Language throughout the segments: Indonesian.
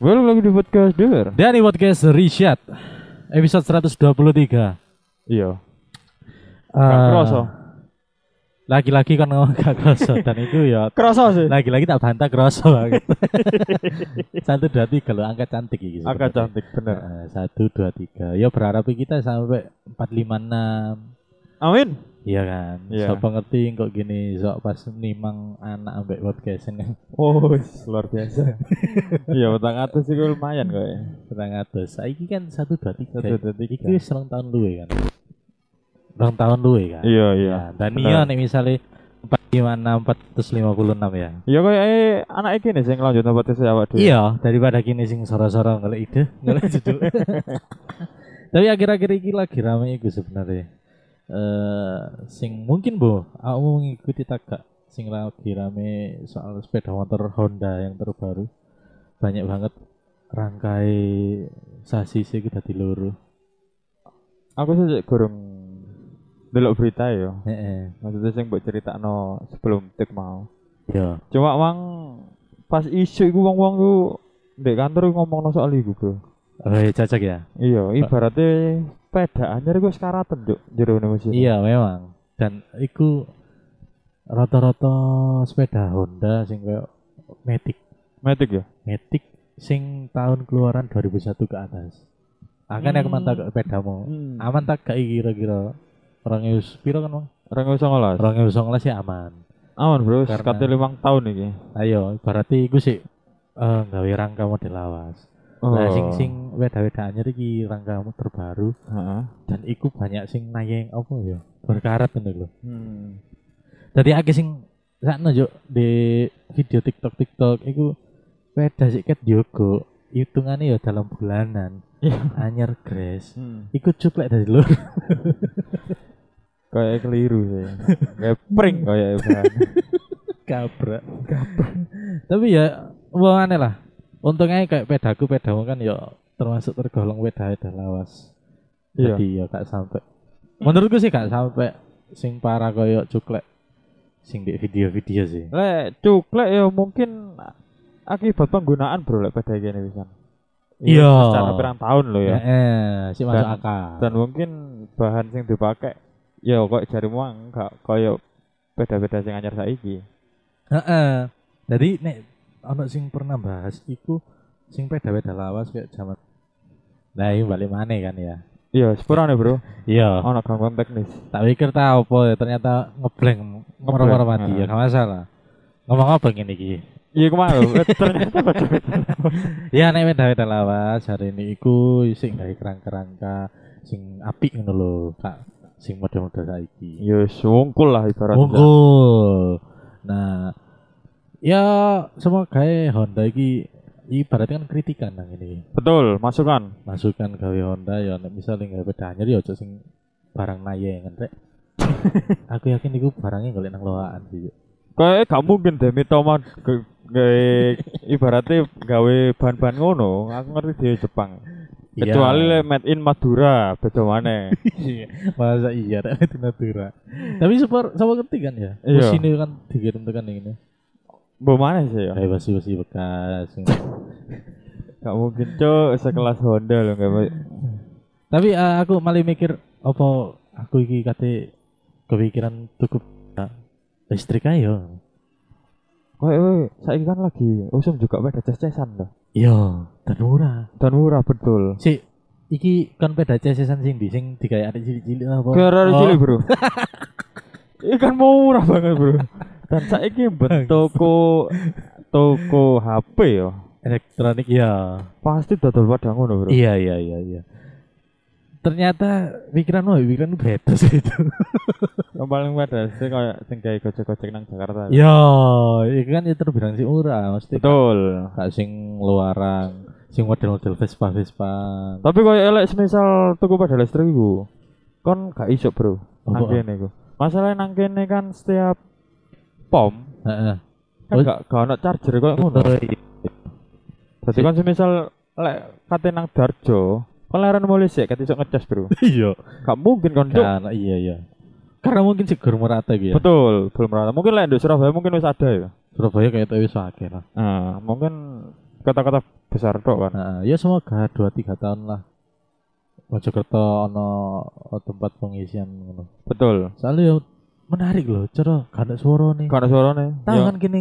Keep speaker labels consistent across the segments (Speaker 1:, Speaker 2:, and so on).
Speaker 1: Belum lagi di podcast dealer.
Speaker 2: Dari podcast Rishad episode 123.
Speaker 1: Iya.
Speaker 2: Eh,
Speaker 1: Kroso.
Speaker 2: Lagi-lagi kan ngomong gak kroso dan itu ya
Speaker 1: Kroso sih.
Speaker 2: lagi-lagi tak bantah kroso banget. Satu dua tiga loh angka cantik gitu.
Speaker 1: Agak cantik bener.
Speaker 2: Satu dua tiga. Ya berharap kita sampai empat lima enam.
Speaker 1: Amin.
Speaker 2: Iya kan.
Speaker 1: Iya.
Speaker 2: Sok pengerti kok gini. Sok pas nimang anak ambek podcast ini.
Speaker 1: Oh, luar biasa. Iya, petang atas sih lumayan ya. kayaknya.
Speaker 2: Petang atas. Saiki kan satu dua tiga.
Speaker 1: Satu dua tiga.
Speaker 2: Iki wis rong tahun luwe kan. Rong tahun luwe kan.
Speaker 1: Iya, iya.
Speaker 2: Ya, Dan
Speaker 1: benar.
Speaker 2: iya nih misalnya empat gimana empat ya.
Speaker 1: Iya kayak eh, anak iki nih sing lanjut nopo tes awak dhewe.
Speaker 2: Iya, daripada kini sing sora-sora ngelak ide, ngelak judul. Tapi akhir-akhir ini lagi rame iku sebenarnya. Eh, sing mungkin bu, aku mengikuti tagak sing lagi rame soal sepeda motor Honda yang terbaru. Banyak banget rangkai sasis itu dadi loro.
Speaker 1: Aku sih cek gurung delok berita ya.
Speaker 2: Heeh.
Speaker 1: Maksudnya sing mbok critakno sebelum tik mau.
Speaker 2: Ya.
Speaker 1: Cuma mang pas isu iku wong-wong ku ndek kantor ngomongno soal iku, Bro.
Speaker 2: Oh, iya, cocok ya.
Speaker 1: Iya, ibaratnya sepeda anyar iku wis karatan, Cuk, jero ne mesin.
Speaker 2: Iya memang. Dan iku rata-rata sepeda Honda sing kayak Matic,
Speaker 1: Matic ya.
Speaker 2: Matic sing tahun keluaran 2001 ke atas. Akan ya, aku
Speaker 1: Hmm.
Speaker 2: mantap ke pedamu.
Speaker 1: Hmm.
Speaker 2: Aman tak gak iki kira-kira? Orang Yus, piro kan bang?
Speaker 1: 2019.
Speaker 2: Orang Yus sih ya aman.
Speaker 1: Aman bro,
Speaker 2: Karena-
Speaker 1: sekatnya limang tahun iki.
Speaker 2: Ayo, berarti iku sih eh gawe rangka model lawas.
Speaker 1: Oh.
Speaker 2: Nah, sing sing weda-weda anyar iki rangkamu terbaru
Speaker 1: Heeh.
Speaker 2: dan iku banyak sing nayeng apa ya? Berkarat ngono lho.
Speaker 1: Hmm.
Speaker 2: Tadi akeh sing sakno juk di video TikTok TikTok iku sepeda sik ket yogo hitungannya ya dalam bulanan
Speaker 1: Iya.
Speaker 2: anyar grace iku cuplek dari lur
Speaker 1: Kayak keliru sih. Kayak pring kayak
Speaker 2: kabrak tapi ya wong aneh lah untungnya kayak pedaku pedamu kan ya termasuk tergolong weda weda lawas
Speaker 1: Iya.
Speaker 2: jadi ya gak sampai menurutku sih gak sampai sing parah koyo cuplek sing di video-video sih
Speaker 1: Lek cuklek ya mungkin akibat penggunaan bro lek pada gini bisa.
Speaker 2: Iya.
Speaker 1: Secara pirang tahun loh ya.
Speaker 2: Eh, eh, sih masuk
Speaker 1: Dan-
Speaker 2: akal
Speaker 1: Dan mungkin bahan sing dipakai ya kok jarimu enggak kayak beda-beda sing anyar saiki.
Speaker 2: Heeh. Jadi nek ono sing pernah bahas iku sing peda-peda lawas kayak zaman Nah, ini balik mana kan ya?
Speaker 1: Iya, sepurane bro.
Speaker 2: Iya.
Speaker 1: Ono gangguan teknis.
Speaker 2: Tak pikir tahu apa ya, ternyata ngebleng moro-moro mati ya, gak masalah. Ngomong apa gini iki?
Speaker 1: Iya kemarin ternyata pada
Speaker 2: Ya nek peda-peda lawas hari ini iku sing gawe kerangka-kerangka sing apik ngono lho, Kak. Sing model-model saiki.
Speaker 1: Yo Iya, wungkul lah ibaratnya.
Speaker 2: Unggul. Nah, ya semoga ya Honda iki ibaratnya kan kritikan nang ini.
Speaker 1: Betul, masukan.
Speaker 2: Masukan gawe Honda ya nek misalnya gawe beda anyar ya aja sing barang nayengen rek. Aku yakin iku barangnya golek nang loaan sih. Cuk.
Speaker 1: Kayak gak mungkin deh Mito mau ge- gawe ibaratnya gawe bahan-bahan ngono. Aku ngerti dia Jepang.
Speaker 2: Ya.
Speaker 1: Kecuali le made in Madura, beda mana?
Speaker 2: Iya. masa iya rek itu natura. Tapi super sama ngerti kan ya.
Speaker 1: Iya.
Speaker 2: Mesin itu kan dikirim tekan yang ini.
Speaker 1: Mbok mana sih ya?
Speaker 2: Kayak basi-basi bekas.
Speaker 1: Gak mungkin cok sekelas Honda loh gak mau-
Speaker 2: Tapi eh, aku malah mikir apa aku iki kate kepikiran cukup ya, listrik ayo.
Speaker 1: Kayak weh, saiki kan lagi usum juga pada ces-cesan loh.
Speaker 2: Iya, dan murah.
Speaker 1: Dan murah betul.
Speaker 2: Si iki kan peda cesesan sing di sing digawe arek cilik-cilik apa?
Speaker 1: Gara-gara
Speaker 2: Oh,
Speaker 1: cilik, Bro. Ikan murah banget, Bro. Dan saiki mbek toko toko HP yo.
Speaker 2: Elektronik ya.
Speaker 1: Pasti dodol pada ngono, Bro.
Speaker 2: Iya iya iya iya. Ternyata pikiran lo, pikiran lu beda sih itu. gitu.
Speaker 1: Yang paling pada sih kayak sing gawe gojek-gojek nang Jakarta.
Speaker 2: Ya, iki kan ya terbilang sih murah, mesti gak
Speaker 1: Betul.
Speaker 2: gak sing luarang, sing model-model Vespa Vespa.
Speaker 1: Tapi kalau elek semisal tuku pada listrik iku, kon gak iso, Bro. Nang
Speaker 2: Apa?
Speaker 1: kene iku. Masalahnya nang kene kan setiap pom
Speaker 2: Heeh.
Speaker 1: kan
Speaker 2: Oh.
Speaker 1: gak gak ono charger koyo ngono. Dadi kon semisal lek kate nang Darjo, kon leren mulih sik ket iso ngecas, Bro.
Speaker 2: Iya.
Speaker 1: Gak mungkin kon Cuk.
Speaker 2: Karena iya iya. Karena mungkin sih gur merata gitu ya.
Speaker 1: Betul, belum rata. Mungkin lek nduk Surabaya mungkin wis ada ya.
Speaker 2: Surabaya kayak tapi wis akeh lah.
Speaker 1: Nah, mungkin kota-kota besar tok kan.
Speaker 2: Nah, ya semoga 2 3 tahun lah. Mojokerto ono tempat pengisian ngono.
Speaker 1: Betul.
Speaker 2: Soalnya ya menarik loh, cara gak suara nih.
Speaker 1: Karena suarane.
Speaker 2: Tahu
Speaker 1: ya.
Speaker 2: kan kini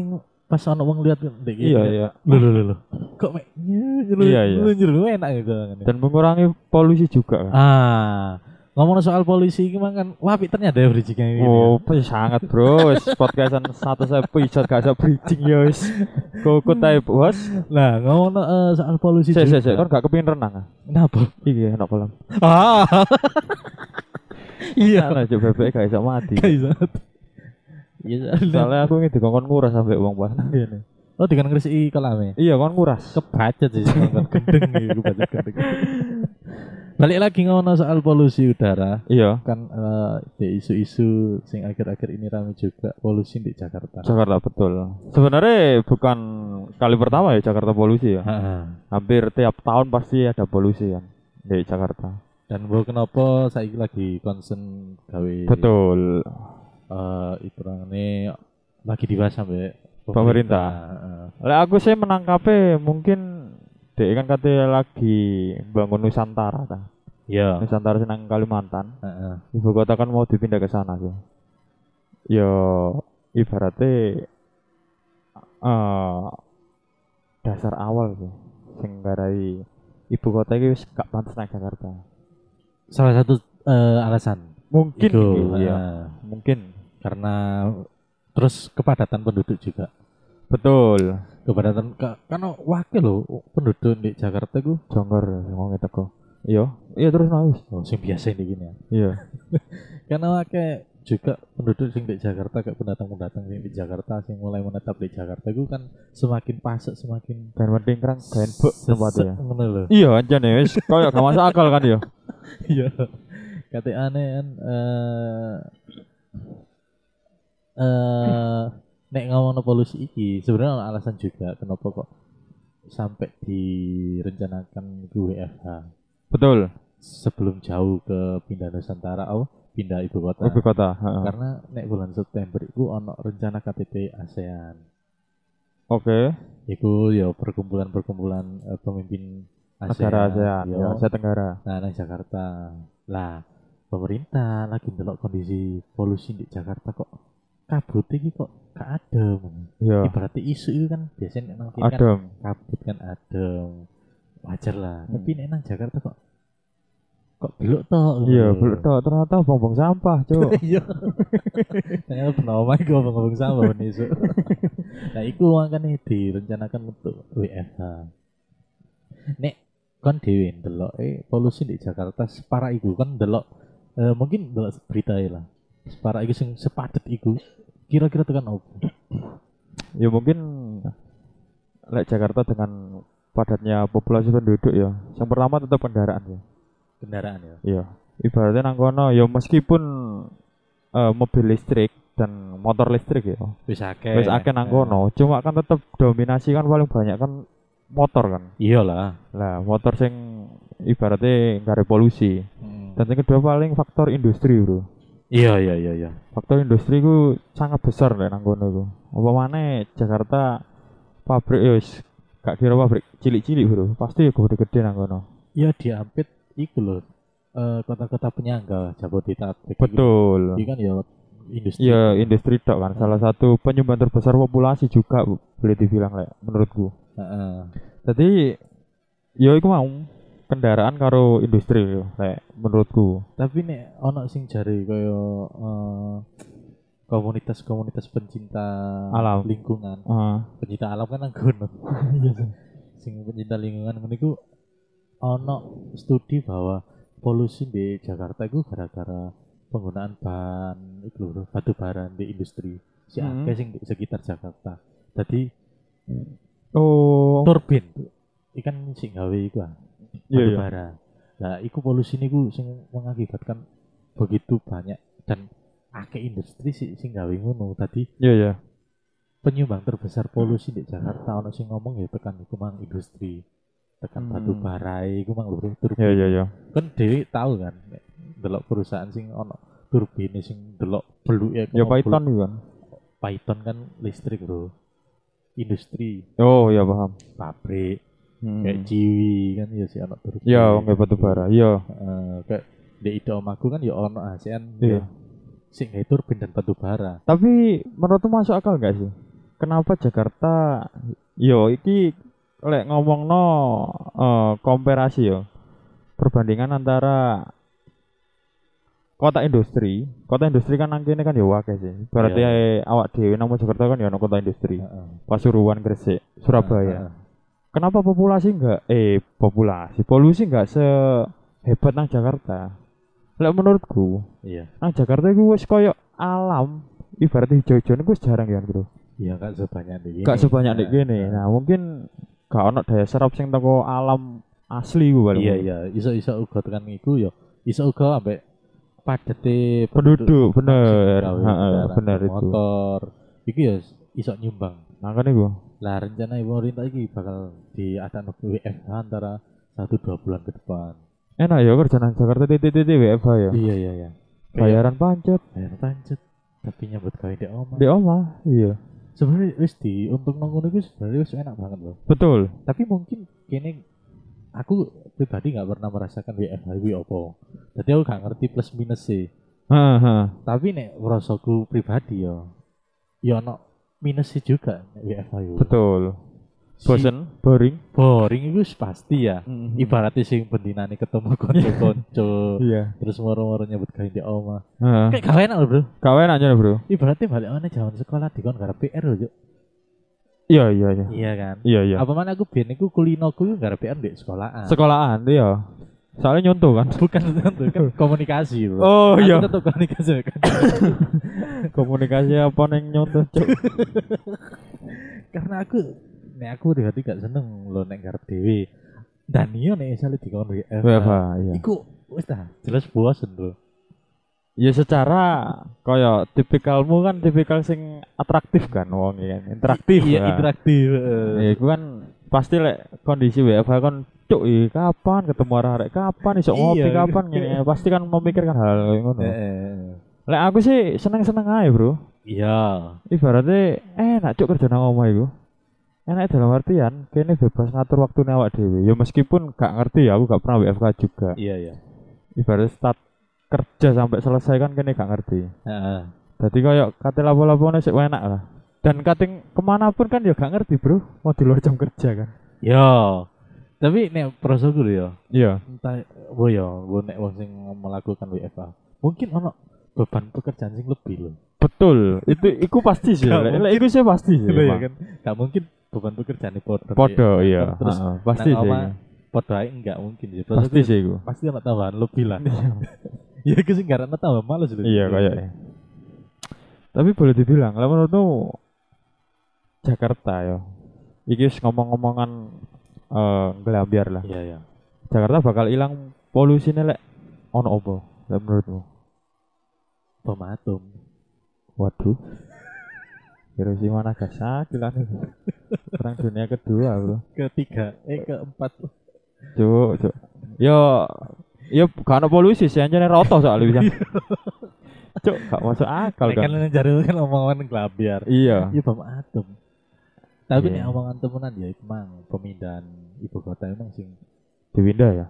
Speaker 2: pas ono wong lihat
Speaker 1: Iya, iya.
Speaker 2: Loh loh loh, loh. Kok mek nyelu
Speaker 1: Iya, iya.
Speaker 2: nyelu enak gitu kan.
Speaker 1: Dan mengurangi polusi juga kan.
Speaker 2: Ah, ngomong soal polisi iki mang kan wapi ternyata ya bridging ini.
Speaker 1: Oh, wis sangat bro, wis podcastan satu saya pisan gak usah bridging ya wis. Kokot ae bos.
Speaker 2: Nah, ngomong soal polisi.
Speaker 1: Sik
Speaker 2: juga.
Speaker 1: sik sik, kon gak kepengin renang. ah?
Speaker 2: Kenapa?
Speaker 1: Iya, enak kolam.
Speaker 2: Ah. iya.
Speaker 1: Ana coba bebek gak iso mati.
Speaker 2: Gak bisa. Iya, soalnya.
Speaker 1: Soalnya aku ini dikongkon nguras sampai uang pas.
Speaker 2: Iya, nih. Oh, dengan ngresi kalame.
Speaker 1: Iya, kon nguras.
Speaker 2: Kebaca sih sama gendeng
Speaker 1: iya,
Speaker 2: iki kebaca gendeng. Balik lagi ngomong soal polusi udara
Speaker 1: Iya,
Speaker 2: kan eh, di isu-isu sing akhir-akhir ini rame juga polusi di Jakarta.
Speaker 1: Jakarta betul. Sebenarnya bukan kali pertama ya Jakarta polusi ya.
Speaker 2: Heeh.
Speaker 1: Hampir tiap tahun pasti ada polusi kan di Jakarta.
Speaker 2: Dan bu kenapa saya lagi concern gawe
Speaker 1: Betul.
Speaker 2: eh itu orangnya lagi dibahas sampai
Speaker 1: Pemerintah.
Speaker 2: Heeh.
Speaker 1: Lah aku sih menangkapnya mungkin dek kan katanya lagi bangun Nusantara ta.
Speaker 2: Iya.
Speaker 1: Nusantara senang Kalimantan.
Speaker 2: Heeh.
Speaker 1: Ibu kota kan mau dipindah ke sana sih. Yo ibaratnya eh dasar awal sih sing nggarai ibu kota iki wis gak pantas nang Jakarta.
Speaker 2: Salah satu eh, alasan
Speaker 1: Mungkin
Speaker 2: itu
Speaker 1: iki, iya,
Speaker 2: heeh.
Speaker 1: mungkin.
Speaker 2: karena terus kepadatan penduduk juga.
Speaker 1: Betul.
Speaker 2: Kepadatan ka- karena wakil loh penduduk di Jakarta gue
Speaker 1: Jongkor ngomong teko. Iya, iya terus nangis.
Speaker 2: oh, sing biasa ini gini ya.
Speaker 1: Iya.
Speaker 2: Karena wakil juga penduduk sing di Jakarta kayak pendatang-pendatang sing di Jakarta sing mulai menetap di Jakarta gue kan semakin pasek semakin
Speaker 1: Ben mending kerang ben bek
Speaker 2: sesek
Speaker 1: tempatnya.
Speaker 2: ngono lho.
Speaker 1: Iya anjane wis koyo gak masuk akal kan ya.
Speaker 2: Iya. Kata aneh kan eh eh nek ngomong polusi iki sebenarnya ada alasan juga kenapa kok sampai direncanakan ke WFH
Speaker 1: Betul.
Speaker 2: sebelum jauh ke pindah Nusantara oh pindah ibu kota
Speaker 1: Ibu kota. heeh.
Speaker 2: karena nek bulan September itu ono rencana KTT ASEAN
Speaker 1: Oke.
Speaker 2: itu ya perkumpulan-perkumpulan eh, pemimpin ASEAN,
Speaker 1: Negara ASEAN,
Speaker 2: yo.
Speaker 1: ya, Asia Tenggara.
Speaker 2: Nah, nang Jakarta. Lah, pemerintah lagi ndelok kondisi polusi di Jakarta kok kabut iki kok gak adem.
Speaker 1: Iya.
Speaker 2: Ibaratnya isu itu kan biasanya nek nang kene kan
Speaker 1: Adem.
Speaker 2: kabut kan adem. Wajar lah.
Speaker 1: Hmm.
Speaker 2: Tapi nek nang Jakarta kok kok belok tok.
Speaker 1: Iya, belum tau ternyata bongbong sampah, Cuk.
Speaker 2: Iya. Ternyata penawar gue ngomong sama ben isu. nah, iku makane direncanakan untuk WFH. Nek kon dhewe ndelok eh polusi di Jakarta separah iku kan ndelok eh, mungkin ndelok berita ya lah. Separah iku sing sepadet iku kira-kira tekan opo?
Speaker 1: ya mungkin lek Jakarta dengan padatnya populasi penduduk ya. Yang pertama tetap kendaraan ya.
Speaker 2: Kendaraan ya.
Speaker 1: Iya. Ibaratnya nang kono ya meskipun eh, mobil listrik dan motor listrik ya.
Speaker 2: Wis akeh.
Speaker 1: Wis akeh nang kono, cuma kan tetap dominasi kan paling banyak kan motor kan.
Speaker 2: Iyalah.
Speaker 1: Lah, motor sing ibaratnya nggak ada polusi.
Speaker 2: Hmm.
Speaker 1: Dan yang kedua paling faktor industri, Bro.
Speaker 2: Iya iya iya iya.
Speaker 1: faktor industri ku sangat besar lah nang kono iku. Apa maneh Jakarta pabrik ya wis gak kira pabrik cilik-cilik bro, pasti gede-gede nang kono.
Speaker 2: Ya diampit iku loh. Eh, kota-kota penyangga Jabodetabek. iku
Speaker 1: Betul.
Speaker 2: Iya kan ya industri.
Speaker 1: Ya industri tok kan salah satu penyumbang terbesar populasi juga Bu, boleh dibilang lah menurutku.
Speaker 2: Heeh.
Speaker 1: Jadi ya iku mau kendaraan karo industri yo lek menurutku.
Speaker 2: Tapi nek ono sing jare kaya eh, komunitas-komunitas pencinta
Speaker 1: Alam.
Speaker 2: lingkungan.
Speaker 1: Ah,
Speaker 2: Pencinta alam kan nang kono. sing pencinta lingkungan meniku ono studi bahwa polusi di Jakarta itu gara-gara penggunaan bahan iku lho, batu bara di industri. Si
Speaker 1: Hmm.
Speaker 2: akeh sing di sekitar Jakarta. Jadi
Speaker 1: oh,
Speaker 2: turbin ikan sing gawe iku ah.
Speaker 1: iya iya.
Speaker 2: batubara. Nah, iku polusi niku sing mengakibatkan begitu banyak dan akeh industri sih sing gawe ngono. Tadi
Speaker 1: Iya iya.
Speaker 2: penyumbang terbesar polusi di Jakarta ono sing ngomong ya tekan iku mang industri, tekan
Speaker 1: Hmm.
Speaker 2: batu bara iku mang luruh turbin.
Speaker 1: Iya iya iya.
Speaker 2: Kan dhewe tahu kan nek delok perusahaan sing ono turbine sing delok beluke
Speaker 1: Ya
Speaker 2: kok
Speaker 1: Python iku kan.
Speaker 2: Python kan listrik, Bro. industri,
Speaker 1: Oh ya paham.
Speaker 2: pabrik,
Speaker 1: Hmm.
Speaker 2: kayak Jiwi kan ya si anak turut.
Speaker 1: Ya, nggak batu bara. Ya,
Speaker 2: Eh, kayak di ide omaku kan ya ono ASEAN
Speaker 1: Iya.
Speaker 2: ya. sing gawe turbin dan batu bara.
Speaker 1: tapi menurutmu masuk akal nggak sih? Kenapa Jakarta? Yo, iki lek ngomong no komparasi yo, perbandingan antara kota industri, kota industri kan nang kene kan yo akeh sih. Berarti
Speaker 2: Iya.
Speaker 1: awak dhewe nang Jakarta kan yo ono kota industri.
Speaker 2: Heeh.
Speaker 1: Pasuruan, Gresik, Surabaya.
Speaker 2: Heeh.
Speaker 1: kenapa populasi enggak eh populasi polusi enggak sehebat nang Jakarta lek menurutku
Speaker 2: Iya.
Speaker 1: nang Jakarta iku wis koyo alam ibaratnya hijau-hijauan iku wis jarang ya bro
Speaker 2: Iya gak sebanyak di
Speaker 1: enggak
Speaker 2: sini.
Speaker 1: sebanyak nek gini nah mungkin gak ono daya serap sing teko alam asli gue
Speaker 2: Iya iya, iso-iso uga tekan iku ya. Iso uga ambek padete
Speaker 1: penduduk bener
Speaker 2: gawe
Speaker 1: Heeh,
Speaker 2: kendaraan
Speaker 1: bener itu
Speaker 2: Iya,
Speaker 1: Nah,
Speaker 2: motor. Iku ya iso nyumbang.
Speaker 1: makanya gue
Speaker 2: Lah rencana ibu pemerintah iki bakal diadakan WFH antara 1 2 bulan ke depan.
Speaker 1: enak ya kerja nang Jakarta titik-titik WFH ya
Speaker 2: Iya iya iya.
Speaker 1: bayaran pancet
Speaker 2: Bayar pancet tapi nyambut gawe di omah.
Speaker 1: di omah iya
Speaker 2: Sebenarnya wis di untung nang ngono iku sebenarnya wis enak banget loh.
Speaker 1: betul
Speaker 2: Tapi mungkin kene aku pribadi nggak pernah merasakan WFH iku opo. Jadi aku gak ngerti plus minus sih.
Speaker 1: Heeh, heeh.
Speaker 2: Tapi nek rasaku pribadi ya ya ono minus sih juga nek WFH iku.
Speaker 1: betul
Speaker 2: Si
Speaker 1: bosen Hmm. boring
Speaker 2: boring iku wis pasti ya. Ibaratnya sing bendinane ketemu konco-konco
Speaker 1: iya
Speaker 2: terus moro-moro nyebut gawe di oma.
Speaker 1: Heeh.
Speaker 2: Kayak gawe enak lho, Bro.
Speaker 1: Kau enak aja bro.
Speaker 2: Ibaratnya balik mana jaman sekolah dikon gara PR lho, Cuk.
Speaker 1: Iya iya iya.
Speaker 2: Iya kan?
Speaker 1: Iya iya.
Speaker 2: Apa mana aku biyen iku kulinoku iku gara PR di sekolahan.
Speaker 1: Sekolahan iya. Soalnya nyontoh kan.
Speaker 2: bukan tentu kan komunikasi bro
Speaker 1: Oh
Speaker 2: Aku
Speaker 1: iya.
Speaker 2: tetap komunikasi kan
Speaker 1: Komunikasi apa neng nyontoh cuk.
Speaker 2: karena aku nek aku pribadi gak seneng lo nek ngarep dewi dan iya nek misalnya di kon
Speaker 1: WFH iya.
Speaker 2: iku wis dah jelas bosen bro
Speaker 1: Ya secara koyo tipikalmu kan tipikal sing atraktif kan wong ya kan. Interaktif.
Speaker 2: iya
Speaker 1: lah.
Speaker 2: interaktif eh.
Speaker 1: Ya iku kan pasti lek kondisi WFH kan cuk iya, kapan ketemu arek-arek kapan iso ngopi
Speaker 2: Iya.
Speaker 1: kapan ngene pasti kan memikirkan hal hal ngono.
Speaker 2: Eh, eh.
Speaker 1: Lek aku sih seneng-seneng aja bro.
Speaker 2: iya
Speaker 1: ibaratnya enak cuk kerja nang omah iku enak dalam artian kene bebas ngatur waktu awak dhewe ya meskipun gak ngerti ya aku gak pernah WFH juga
Speaker 2: iya iya
Speaker 1: ibaratnya start kerja sampai selesai kan kene gak ngerti
Speaker 2: Heeh.
Speaker 1: jadi kayak kate lapo-lapone sik enak lah dan kating kemana pun kan ya gak ngerti bro mau di luar jam kerja kan
Speaker 2: yo Iya. tapi nek prosoku lho yo
Speaker 1: iya
Speaker 2: entah bo yo bo nek wong sing melakukan WFA mungkin ono beban pekerjaan sing lebih loh
Speaker 1: betul itu iku pasti sih
Speaker 2: Gak
Speaker 1: lek lek iku sih pasti sih
Speaker 2: Iya
Speaker 1: emang.
Speaker 2: kan gak mungkin beban pekerjaan di
Speaker 1: podo iya
Speaker 2: Terus
Speaker 1: heeh, pasti
Speaker 2: nang
Speaker 1: sih iya.
Speaker 2: omah, Padha Nah, ae enggak mungkin sih. Terus
Speaker 1: pasti
Speaker 2: aku-
Speaker 1: sih iku
Speaker 2: pasti ada tambahan lebih lah. ya aku sih karena tambah males lho.
Speaker 1: Iya kayaknya. Tapi boleh dibilang, lah menurutmu Jakarta ya. Iki wis ngomong-ngomongan eh gelambiar lah.
Speaker 2: Iya iya.
Speaker 1: Jakarta bakal hilang polusi lek ono opo? Lah menurutmu?
Speaker 2: Pematum.
Speaker 1: Waduh. Hiroshima Nagasaki lah nih. Perang dunia kedua, Bro.
Speaker 2: Ketiga, eh keempat.
Speaker 1: Cuk, cuk. Yo yo gak ono polusi sih anjene roto soalnya bisa. Cuk, gak masuk akal
Speaker 2: Kalau kan
Speaker 1: kan.
Speaker 2: ngejar itu kan omongan gelabiar.
Speaker 1: Iya.
Speaker 2: Iya bom atom. Tapi
Speaker 1: Iya.
Speaker 2: nek omongan temenan ya emang pemindahan ibu kota emang sing
Speaker 1: Dipindah ya.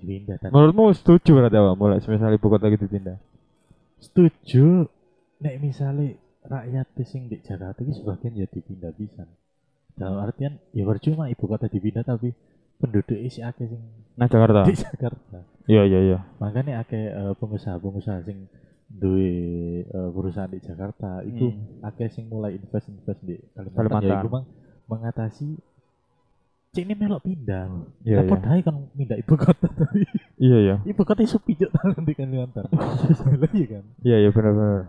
Speaker 2: dipindah dan
Speaker 1: Menurutmu setuju berarti apa? Mulai semisal ibu kota gitu pindah.
Speaker 2: setuju nek misalnya rakyat e sing di Jakarta itu sebagian ya dipindah bisa. Dalam artian ya percuma ibu kota dipindah tapi penduduk isi akeh sing
Speaker 1: Nah Jakarta.
Speaker 2: di Jakarta.
Speaker 1: Iya iya iya.
Speaker 2: makanya akeh eh, pengusaha-pengusaha sing duwe eh, perusahaan di Jakarta itu akeh sing mulai invest invest di Kalimantan,
Speaker 1: Kalimantan.
Speaker 2: ya iku mang mengatasi cek ini melok pindah
Speaker 1: Iya
Speaker 2: apa
Speaker 1: iya.
Speaker 2: dae kan pindah ibu kota tapi
Speaker 1: Iya iya.
Speaker 2: ibu kota iso pijuk tangan di Kalimantan Lah iya kan
Speaker 1: Iya iya benar benar.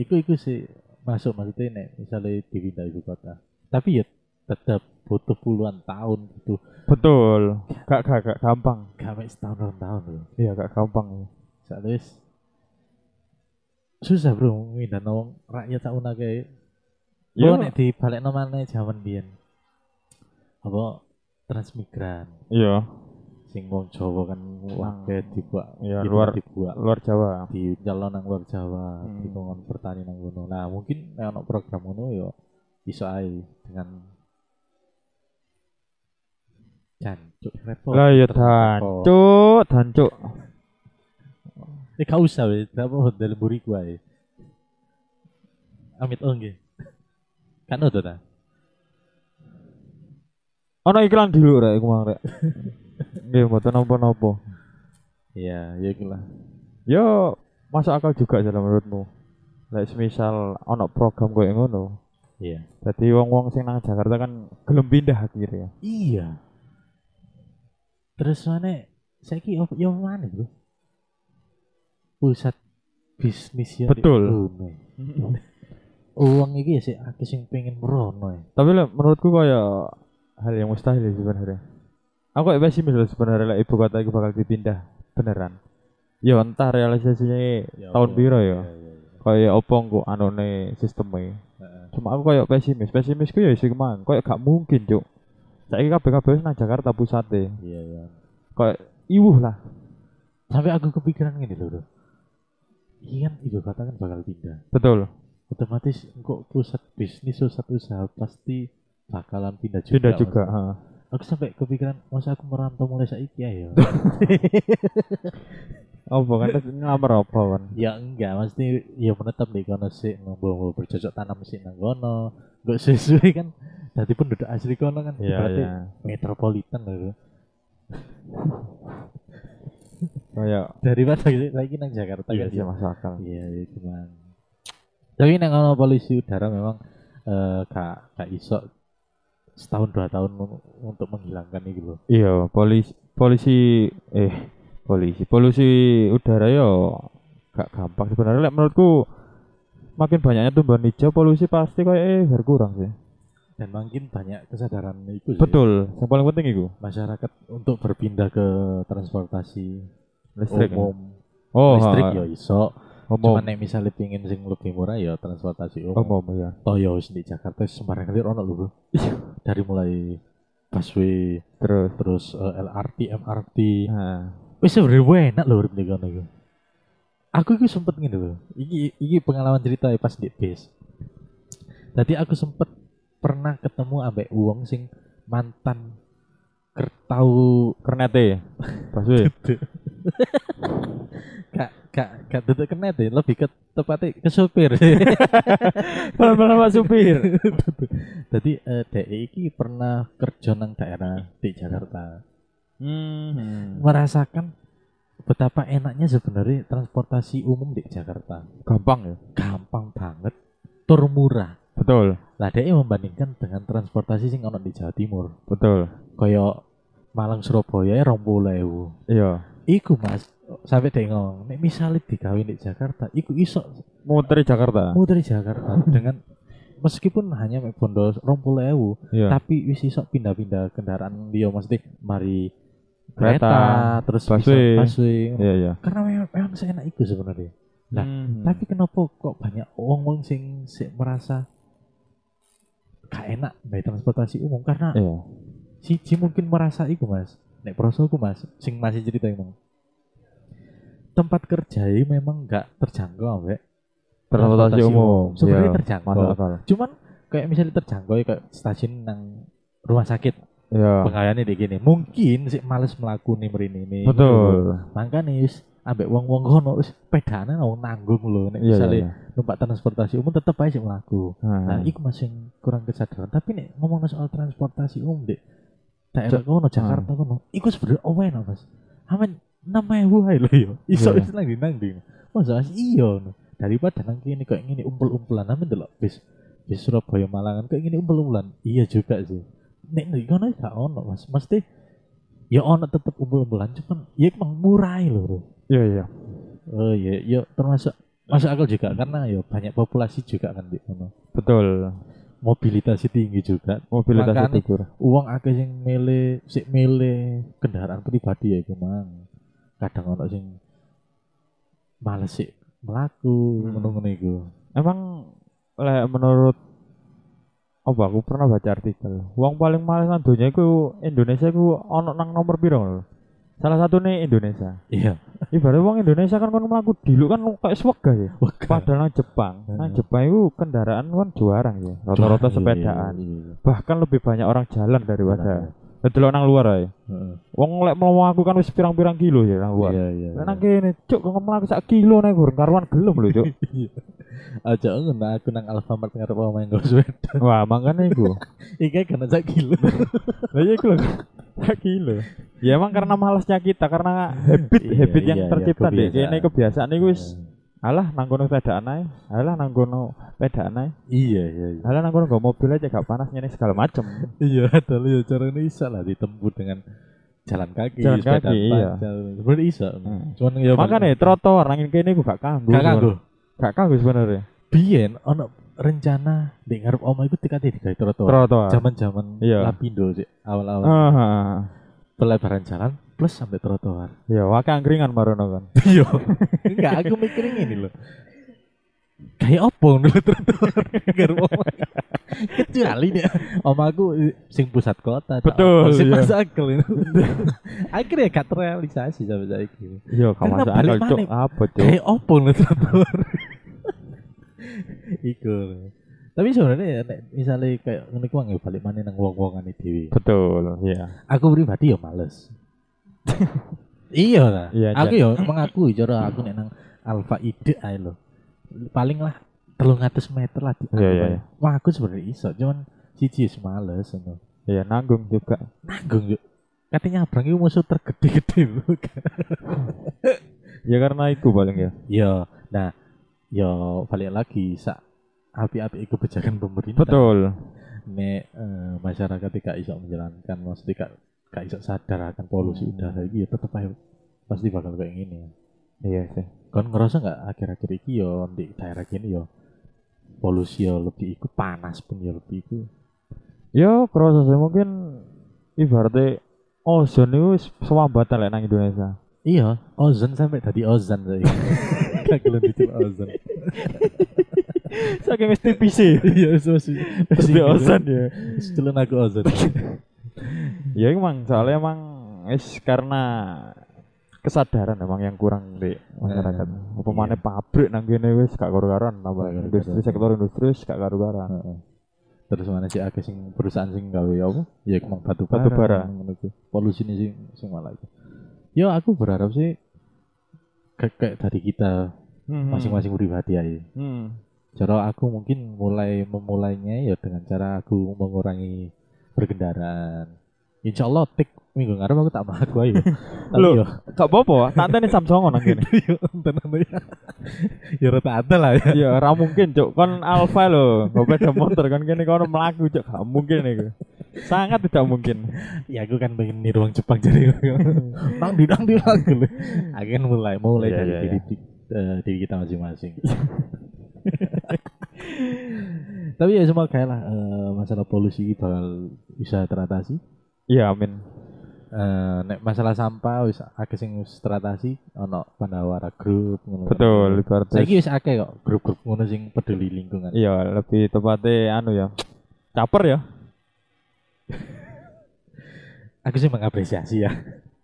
Speaker 2: iku iku sih masuk maksudnya nek misalnya dipindah ibu kota tapi ya tetap butuh puluhan tahun gitu
Speaker 1: Betul. Gak gak gak gampang.
Speaker 2: gak mek setahun dua tahun loh
Speaker 1: Iya gak gampang.
Speaker 2: Soalnya wis susah bro mindah wong rakyat tak unake. Iya nek dibalekno maneh jaman biyen. Apa transmigran
Speaker 1: Iya.
Speaker 2: sing wong Jawa kan ya, akeh dibuat
Speaker 1: Iya,
Speaker 2: dibuat-
Speaker 1: luar-
Speaker 2: dibuat
Speaker 1: Luar Jawa.
Speaker 2: di jalan nang luar Jawa,
Speaker 1: Hmm.
Speaker 2: di kongon pertanian nang ngono. Nah, mungkin nek ono program ngono yo iso ae dengan jancuk repot.
Speaker 1: Lah ya
Speaker 2: Repot. Oh.
Speaker 1: dancuk, dancuk.
Speaker 2: Eh gak usah weh, gak apa dalam buriku ae. Amit oh nggih. Kan ono ta.
Speaker 1: Ono iklan dulu rek iku mang rek. Nggih mboten napa-napa.
Speaker 2: Iya, ya iku lah.
Speaker 1: Yo masuk akal juga dalam menurutmu. Lek semisal ono program koyo ngono.
Speaker 2: Iya.
Speaker 1: Jadi wong-wong sing nang Jakarta kan gelem pindah akhirnya.
Speaker 2: Iya. Terus mana? Saiki op yo mana, Bro? Pusat bisnis ya. di
Speaker 1: Betul.
Speaker 2: kono. Uang iki ya sih aku sing pengen merono ya.
Speaker 1: Tapi lek menurutku kaya hal yang mustahil sih sebenarnya. Aku kayak pesimis loh sebenarnya lek ibu kota itu bakal dipindah beneran. Ya entah realisasinya tahun piro ya. Kaya opo engko anone sistemnya. Cuma aku kayak pesimis. Pesimisku ya sih kemang. Kayak gak mungkin cuk. Saiki kabeh kabeh wis nang Jakarta pusate.
Speaker 2: Iya, iya.
Speaker 1: Kayak iwuh lah.
Speaker 2: Sampai aku kepikiran gini loh, Bro. Iya kan ibu kata kan bakal pindah.
Speaker 1: Betul.
Speaker 2: Otomatis engkau pusat bisnis, pusat usaha pasti bakalan pindah juga.
Speaker 1: Pindah
Speaker 2: Mas.
Speaker 1: juga. ha.
Speaker 2: Aku sampai kepikiran, masa aku merantau mulai saiki ya.
Speaker 1: Apa kan terus ngelamar apa kan?
Speaker 2: ya enggak mesti ya menetap di kono sih ngomong bercocok tanam sih nang kono nggak sesuai kan tadi penduduk asli kono kan
Speaker 1: Iya,
Speaker 2: berarti
Speaker 1: iya.
Speaker 2: metropolitan loh
Speaker 1: Kayak
Speaker 2: daripada lagi nang Jakarta
Speaker 1: iya
Speaker 2: kan
Speaker 1: sih masuk akal.
Speaker 2: iya iya cuman tapi nang kono polisi udara memang eh kak kak iso setahun dua tahun un- untuk menghilangkan itu loh
Speaker 1: Iya, polisi polisi eh polisi polusi udara yo gak gampang sebenarnya lek menurutku makin banyaknya tumbuhan hijau polusi pasti kayak eh berkurang sih.
Speaker 2: dan makin banyak kesadaran itu sih.
Speaker 1: Betul, yang paling penting itu
Speaker 2: masyarakat untuk berpindah ke transportasi
Speaker 1: listrik.
Speaker 2: umum
Speaker 1: Oh,
Speaker 2: listrik
Speaker 1: ha,
Speaker 2: ya iso
Speaker 1: umum.
Speaker 2: Cuman nek misalnya pingin sing lebih murah ya transportasi umum.
Speaker 1: Umum ya.
Speaker 2: Toh ya wis di Jakarta wis sembarang kali ono lho, Bro. Dari mulai busway
Speaker 1: Terus
Speaker 2: terus eh, LRT, MRT.
Speaker 1: ha,
Speaker 2: Wis sebenarnya enak lho urip di kono iku. Aku iku sempet ngene lho. Iki iki pengalaman cerita ya pas di bis. Tadi aku sempet pernah ketemu ambek uang sing mantan kertau
Speaker 1: kernete. Paswe.
Speaker 2: gak gak gak duduk kenet ya, lebih ke tepatnya ke sopir
Speaker 1: Pelan-pelan Pak supir.
Speaker 2: Jadi eh DE iki pernah kerja nang daerah di Jakarta.
Speaker 1: Hmm.
Speaker 2: Merasakan betapa enaknya sebenarnya transportasi umum di Jakarta.
Speaker 1: Gampang ya.
Speaker 2: Gampang banget, tur murah.
Speaker 1: Betul,
Speaker 2: Lah DE membandingkan dengan transportasi sing ono di Jawa Timur.
Speaker 1: betul.
Speaker 2: Koyo Malang Surabaya ya 20.000.
Speaker 1: Iya.
Speaker 2: Iku Mas, sampai DE ngomong, nek misalnya digawe di Jakarta, iku iso
Speaker 1: Muter Jakarta.
Speaker 2: muter di Jakarta dengan meskipun hanya mek bondo 20.000
Speaker 1: Iya.
Speaker 2: tapi wis iso pindah-pindah kendaraan dia mesti mari
Speaker 1: Kereta,
Speaker 2: kereta, terus
Speaker 1: busway.
Speaker 2: bisa busway.
Speaker 1: Iya, iya.
Speaker 2: karena memang, memang seenak itu sebenarnya Nah,
Speaker 1: Hmm.
Speaker 2: tapi kenapa kok banyak orang-orang sing sik merasa gak enak naik transportasi umum karena
Speaker 1: iya.
Speaker 2: siji mungkin merasa iku mas nek prosoku mas sing masih cerita emang tempat kerja iki memang gak terjangkau ambek
Speaker 1: Transportasi umum.
Speaker 2: sebenarnya
Speaker 1: Iya.
Speaker 2: terjangkau
Speaker 1: Masuk akal.
Speaker 2: cuman kayak misalnya terjangkau ya kayak stasiun nang rumah sakit
Speaker 1: Iya.
Speaker 2: pengayaannya di gini mungkin sih males melakukan mrini ini
Speaker 1: Betul.
Speaker 2: makanya wis ambek wong wong kono wis pedane lah wong nanggung lho nek
Speaker 1: Iya,
Speaker 2: misalnya
Speaker 1: iya.
Speaker 2: numpak transportasi umum tetep aja sih melaku nah
Speaker 1: Nah,
Speaker 2: iku masih kurang kesadaran tapi nek ngomong soal transportasi umum dek daerah kono Jakarta kono iku sebenarnya owe no mas aman namanya wae lho yo iso
Speaker 1: Iya.
Speaker 2: wis nang di nang di masa mas iya no. daripada nang kene kayak ngene umpul-umpulan amin delok bis bis Surabaya Malangan kayak ngene umpul-umpulan iya juga sih nek nek kono gak ono mas mesti ya ono tetep umpul-umpulan cuman ya emang murah lho bro.
Speaker 1: iya iya.
Speaker 2: oh iya iya termasuk masuk akal juga karena ya banyak populasi juga kan di kono
Speaker 1: Betul.
Speaker 2: mobilitasnya tinggi juga
Speaker 1: Mobilitas
Speaker 2: Makanya-
Speaker 1: subur.
Speaker 2: uang akeh sing milih sik milih kendaraan pribadi ya iku mang kadang ono sing males sik melaku
Speaker 1: Hmm.
Speaker 2: ngono ngono iku
Speaker 1: Emang lek menurut apa aku pernah baca artikel. Wong paling males nang donya iku Indonesia iku ono nang nomor piro lho. Salah satu nih Indonesia.
Speaker 2: Iya.
Speaker 1: Ibarat wong Indonesia kan kon mlaku diluk kan kayak swega ya.
Speaker 2: Waduh.
Speaker 1: Padahal nang Jepang,
Speaker 2: Heeh.
Speaker 1: nang Jepang itu kendaraan kan juarang ya.
Speaker 2: Iya,
Speaker 1: Rata-rata sepedaan. Bahkan lebih banyak orang jalan daripada. Delok nang luar ae.
Speaker 2: Heeh.
Speaker 1: Wong lek mau aku kan wis pirang-pirang kilo ya nang luar.
Speaker 2: Iya, iya.
Speaker 1: Lah nang kene cuk kok mlaku sak kilo nek gur karuan gelem lho cuk.
Speaker 2: Aja ngono aku nang Alfamart ngarep omahe nggo sepeda.
Speaker 1: Wah, makanya iku.
Speaker 2: Iki kan sak kilo.
Speaker 1: Lah iya iku lho. Sak kilo. Ya emang karena malasnya kita karena habit
Speaker 2: Iya,
Speaker 1: habit yang
Speaker 2: iya, iya,
Speaker 1: tercipta di
Speaker 2: kebiasaan.
Speaker 1: kene kebiasaan Iya. iku wis alah nang kono pedaan ae, alah nang kono pedaan ae,
Speaker 2: Iya, iya, iya.
Speaker 1: alah nang kono gak mobil aja gak panas nyene segala macem.
Speaker 2: Iya, padahal ya caranya bisa lah ditempuh dengan jalan kaki,
Speaker 1: Jalan kaki, iya.
Speaker 2: Sebenarnya bisa.
Speaker 1: Hmm.
Speaker 2: Cuman ya
Speaker 1: Makanya trotoar nang kene iku gak kanggo. Iya.
Speaker 2: Kakak gue,
Speaker 1: Gak kanggo sebenarnya.
Speaker 2: biyen ono rencana di ngarep oma iku tikate digawe trotoar.
Speaker 1: Trotoar.
Speaker 2: Zaman-zaman
Speaker 1: Iya. Ah.
Speaker 2: Lapindo sih awal-awal
Speaker 1: Heeh.
Speaker 2: pelebaran jalan plus sampai trotoar.
Speaker 1: Ya, wae angkringan marono kan.
Speaker 2: Iya. Enggak, aku mikirin ini loh. Kayak opo dulu trotoar ngarep oma. Kecuali nih oma aku eh, sing pusat kota. tak
Speaker 1: Betul,
Speaker 2: opo, Sing
Speaker 1: iya.
Speaker 2: masuk akal ini. Akhirnya gak terrealisasi sampai saat ini.
Speaker 1: Iya, gak
Speaker 2: Karena
Speaker 1: masuk
Speaker 2: balik
Speaker 1: akal cuk.
Speaker 2: maneh.
Speaker 1: Apa cuk?
Speaker 2: Kayak opo lho trotoar. Iku. Tapi sebenarnya ya, nek misalnya kayak ngene ku nggak balik mana nang wong-wongan iki dhewe.
Speaker 1: Betul, iya.
Speaker 2: Aku pribadi ya males. iya lah.
Speaker 1: Iya,
Speaker 2: aku ya mengakui cara aku nek nang Alfa Ide ae lho. Paling lah 300 meter lah di
Speaker 1: Iya, iya, iya.
Speaker 2: Wah, aku sebenarnya iso, cuman siji wis males ngono.
Speaker 1: Iya, nanggung juga.
Speaker 2: Nanggung yuk. Katanya nyabrang itu musuh tergede-gede lho.
Speaker 1: Ya karena itu paling ya.
Speaker 2: Ya, nah, ya balik lagi sak api-api kebijakan pemerintah.
Speaker 1: Betul.
Speaker 2: Nek eh, masyarakat tidak iso menjalankan, maksudnya tidak tidak iso sadar akan polusi
Speaker 1: Hmm.
Speaker 2: udara iki ya tetep aja pasti bakal kayak gini.
Speaker 1: Iya sih.
Speaker 2: Kon ngerasa nggak akhir-akhir iki yo di daerah gini yo polusi yo lebih iku panas pun yo lebih iku.
Speaker 1: Ya, prosesnya mungkin ibaratnya ozon itu wis swambatan lek nang Indonesia.
Speaker 2: Iya, ozon sampai tadi ozon saya. Kagelan itu ozon.
Speaker 1: Saking wis tipis sih.
Speaker 2: Iya, terus
Speaker 1: Pasti ozon ya.
Speaker 2: Setelan aku gitu. ozon.
Speaker 1: Ya emang soalnya emang wis karena kesadaran emang yang kurang di masyarakat. Apa maneh pabrik nang kene wis gak karu-karuan tambah
Speaker 2: Gak karu-karuan.
Speaker 1: industri sektor industri wis gak karu-karuan.
Speaker 2: Heeh. Terus mana sih akeh sing perusahaan sing gawe ya apa? Ya kemang batu
Speaker 1: Batu
Speaker 2: bara.
Speaker 1: bara.
Speaker 2: ngono kuwi. Polusi ini sing sing malah itu. Ya aku berharap sih kayak, kayak dari kita
Speaker 1: Hmm.
Speaker 2: masing-masing pribadi aja.
Speaker 1: Hmm.
Speaker 2: Cara aku mungkin mulai memulainya ya dengan cara aku mengurangi berkendaraan. Insya Allah tik minggu ngarep aku tak mah aku ayo. Tapi
Speaker 1: Loh.
Speaker 2: yo
Speaker 1: Gak apa-apa, tak enteni Samsung nang kene.
Speaker 2: yo enten anu ya. Ya rata ada lah ya.
Speaker 1: Ya ora mungkin cuk, kon alfa lho, kok beda motor kon kene kono mlaku cuk, gak mungkin iku. Sangat tidak mungkin.
Speaker 2: Ya aku kan pengen niru wong Jepang jadi nang di nang di lagu lho. Aku kan mulai mulai
Speaker 1: Iya,
Speaker 2: dari
Speaker 1: iya,
Speaker 2: diri, eh, diri kita masing-masing. Tapi ya semoga lah eh, masalah polusi ini bakal bisa teratasi.
Speaker 1: Iya, amin.
Speaker 2: Eh, nek masalah sampah wis akeh sing wis teratasi ono Pandawara grup ngono. kan.
Speaker 1: Betul, ibaratnya
Speaker 2: Nah, Saiki wis akeh kok grup-grup ngono sing peduli lingkungan.
Speaker 1: Iya, lebih tepatnya anu ya. Caper ya.
Speaker 2: Aku sih mengapresiasi ya. eh.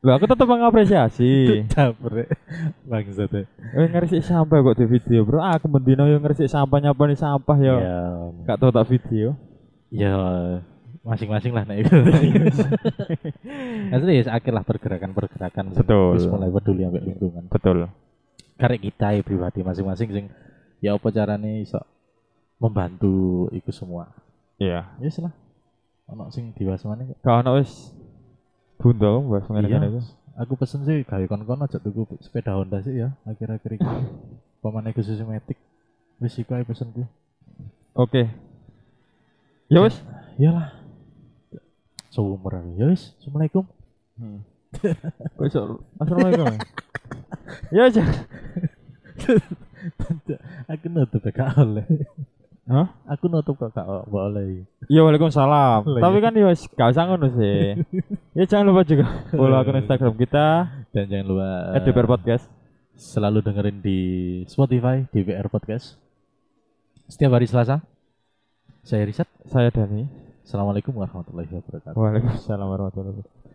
Speaker 1: Loh, aku tetap mengapresiasi.
Speaker 2: Capre bangsat.
Speaker 1: Eh ngerisik sampah kok di video, Bro. Aku mendino yo ngerisik sampah nyapani sampah yo.
Speaker 2: Ya,
Speaker 1: Gak tau tak video.
Speaker 2: ya masing-masing lah nek Asli ya akhir lah pergerakan-pergerakan sing
Speaker 1: Betul.
Speaker 2: wis mulai peduli ambek lingkungan.
Speaker 1: Betul.
Speaker 2: Karek kita ya pribadi masing-masing sing ya apa carane iso membantu iku semua.
Speaker 1: Iya.
Speaker 2: Ya wis lah. Ono sing dewasa maneh kok.
Speaker 1: Gak ono wis bundel bahas ngene itu.
Speaker 2: Iya. Aku pesen sih gawe kon-kon aja tuku sepeda Honda sih ya akhir-akhir ini. Pemane khusus metik. Wis iku ae pesenku.
Speaker 1: Oke. Ya wis.
Speaker 2: Iyalah. Seumur aku. Ya wis. Assalamualaikum.
Speaker 1: Kok iso Assalamualaikum. ya? Ya aja.
Speaker 2: aku nutup ya gak oleh
Speaker 1: Hah?
Speaker 2: aku nutup kok gak gak oleh
Speaker 1: Ya waalaikumsalam.
Speaker 2: Lah, iya.
Speaker 1: Tapi kan ya wis gak usah ngono sih. ya jangan lupa juga follow akun Instagram kita
Speaker 2: dan jangan lupa eh,
Speaker 1: @dpr podcast.
Speaker 2: selalu dengerin di Spotify DPR Podcast setiap hari Selasa saya riset
Speaker 1: Saya Dani.
Speaker 2: Assalamualaikum warahmatullahi wabarakatuh
Speaker 1: Waalaikumsalam warahmatullahi wabarakatuh.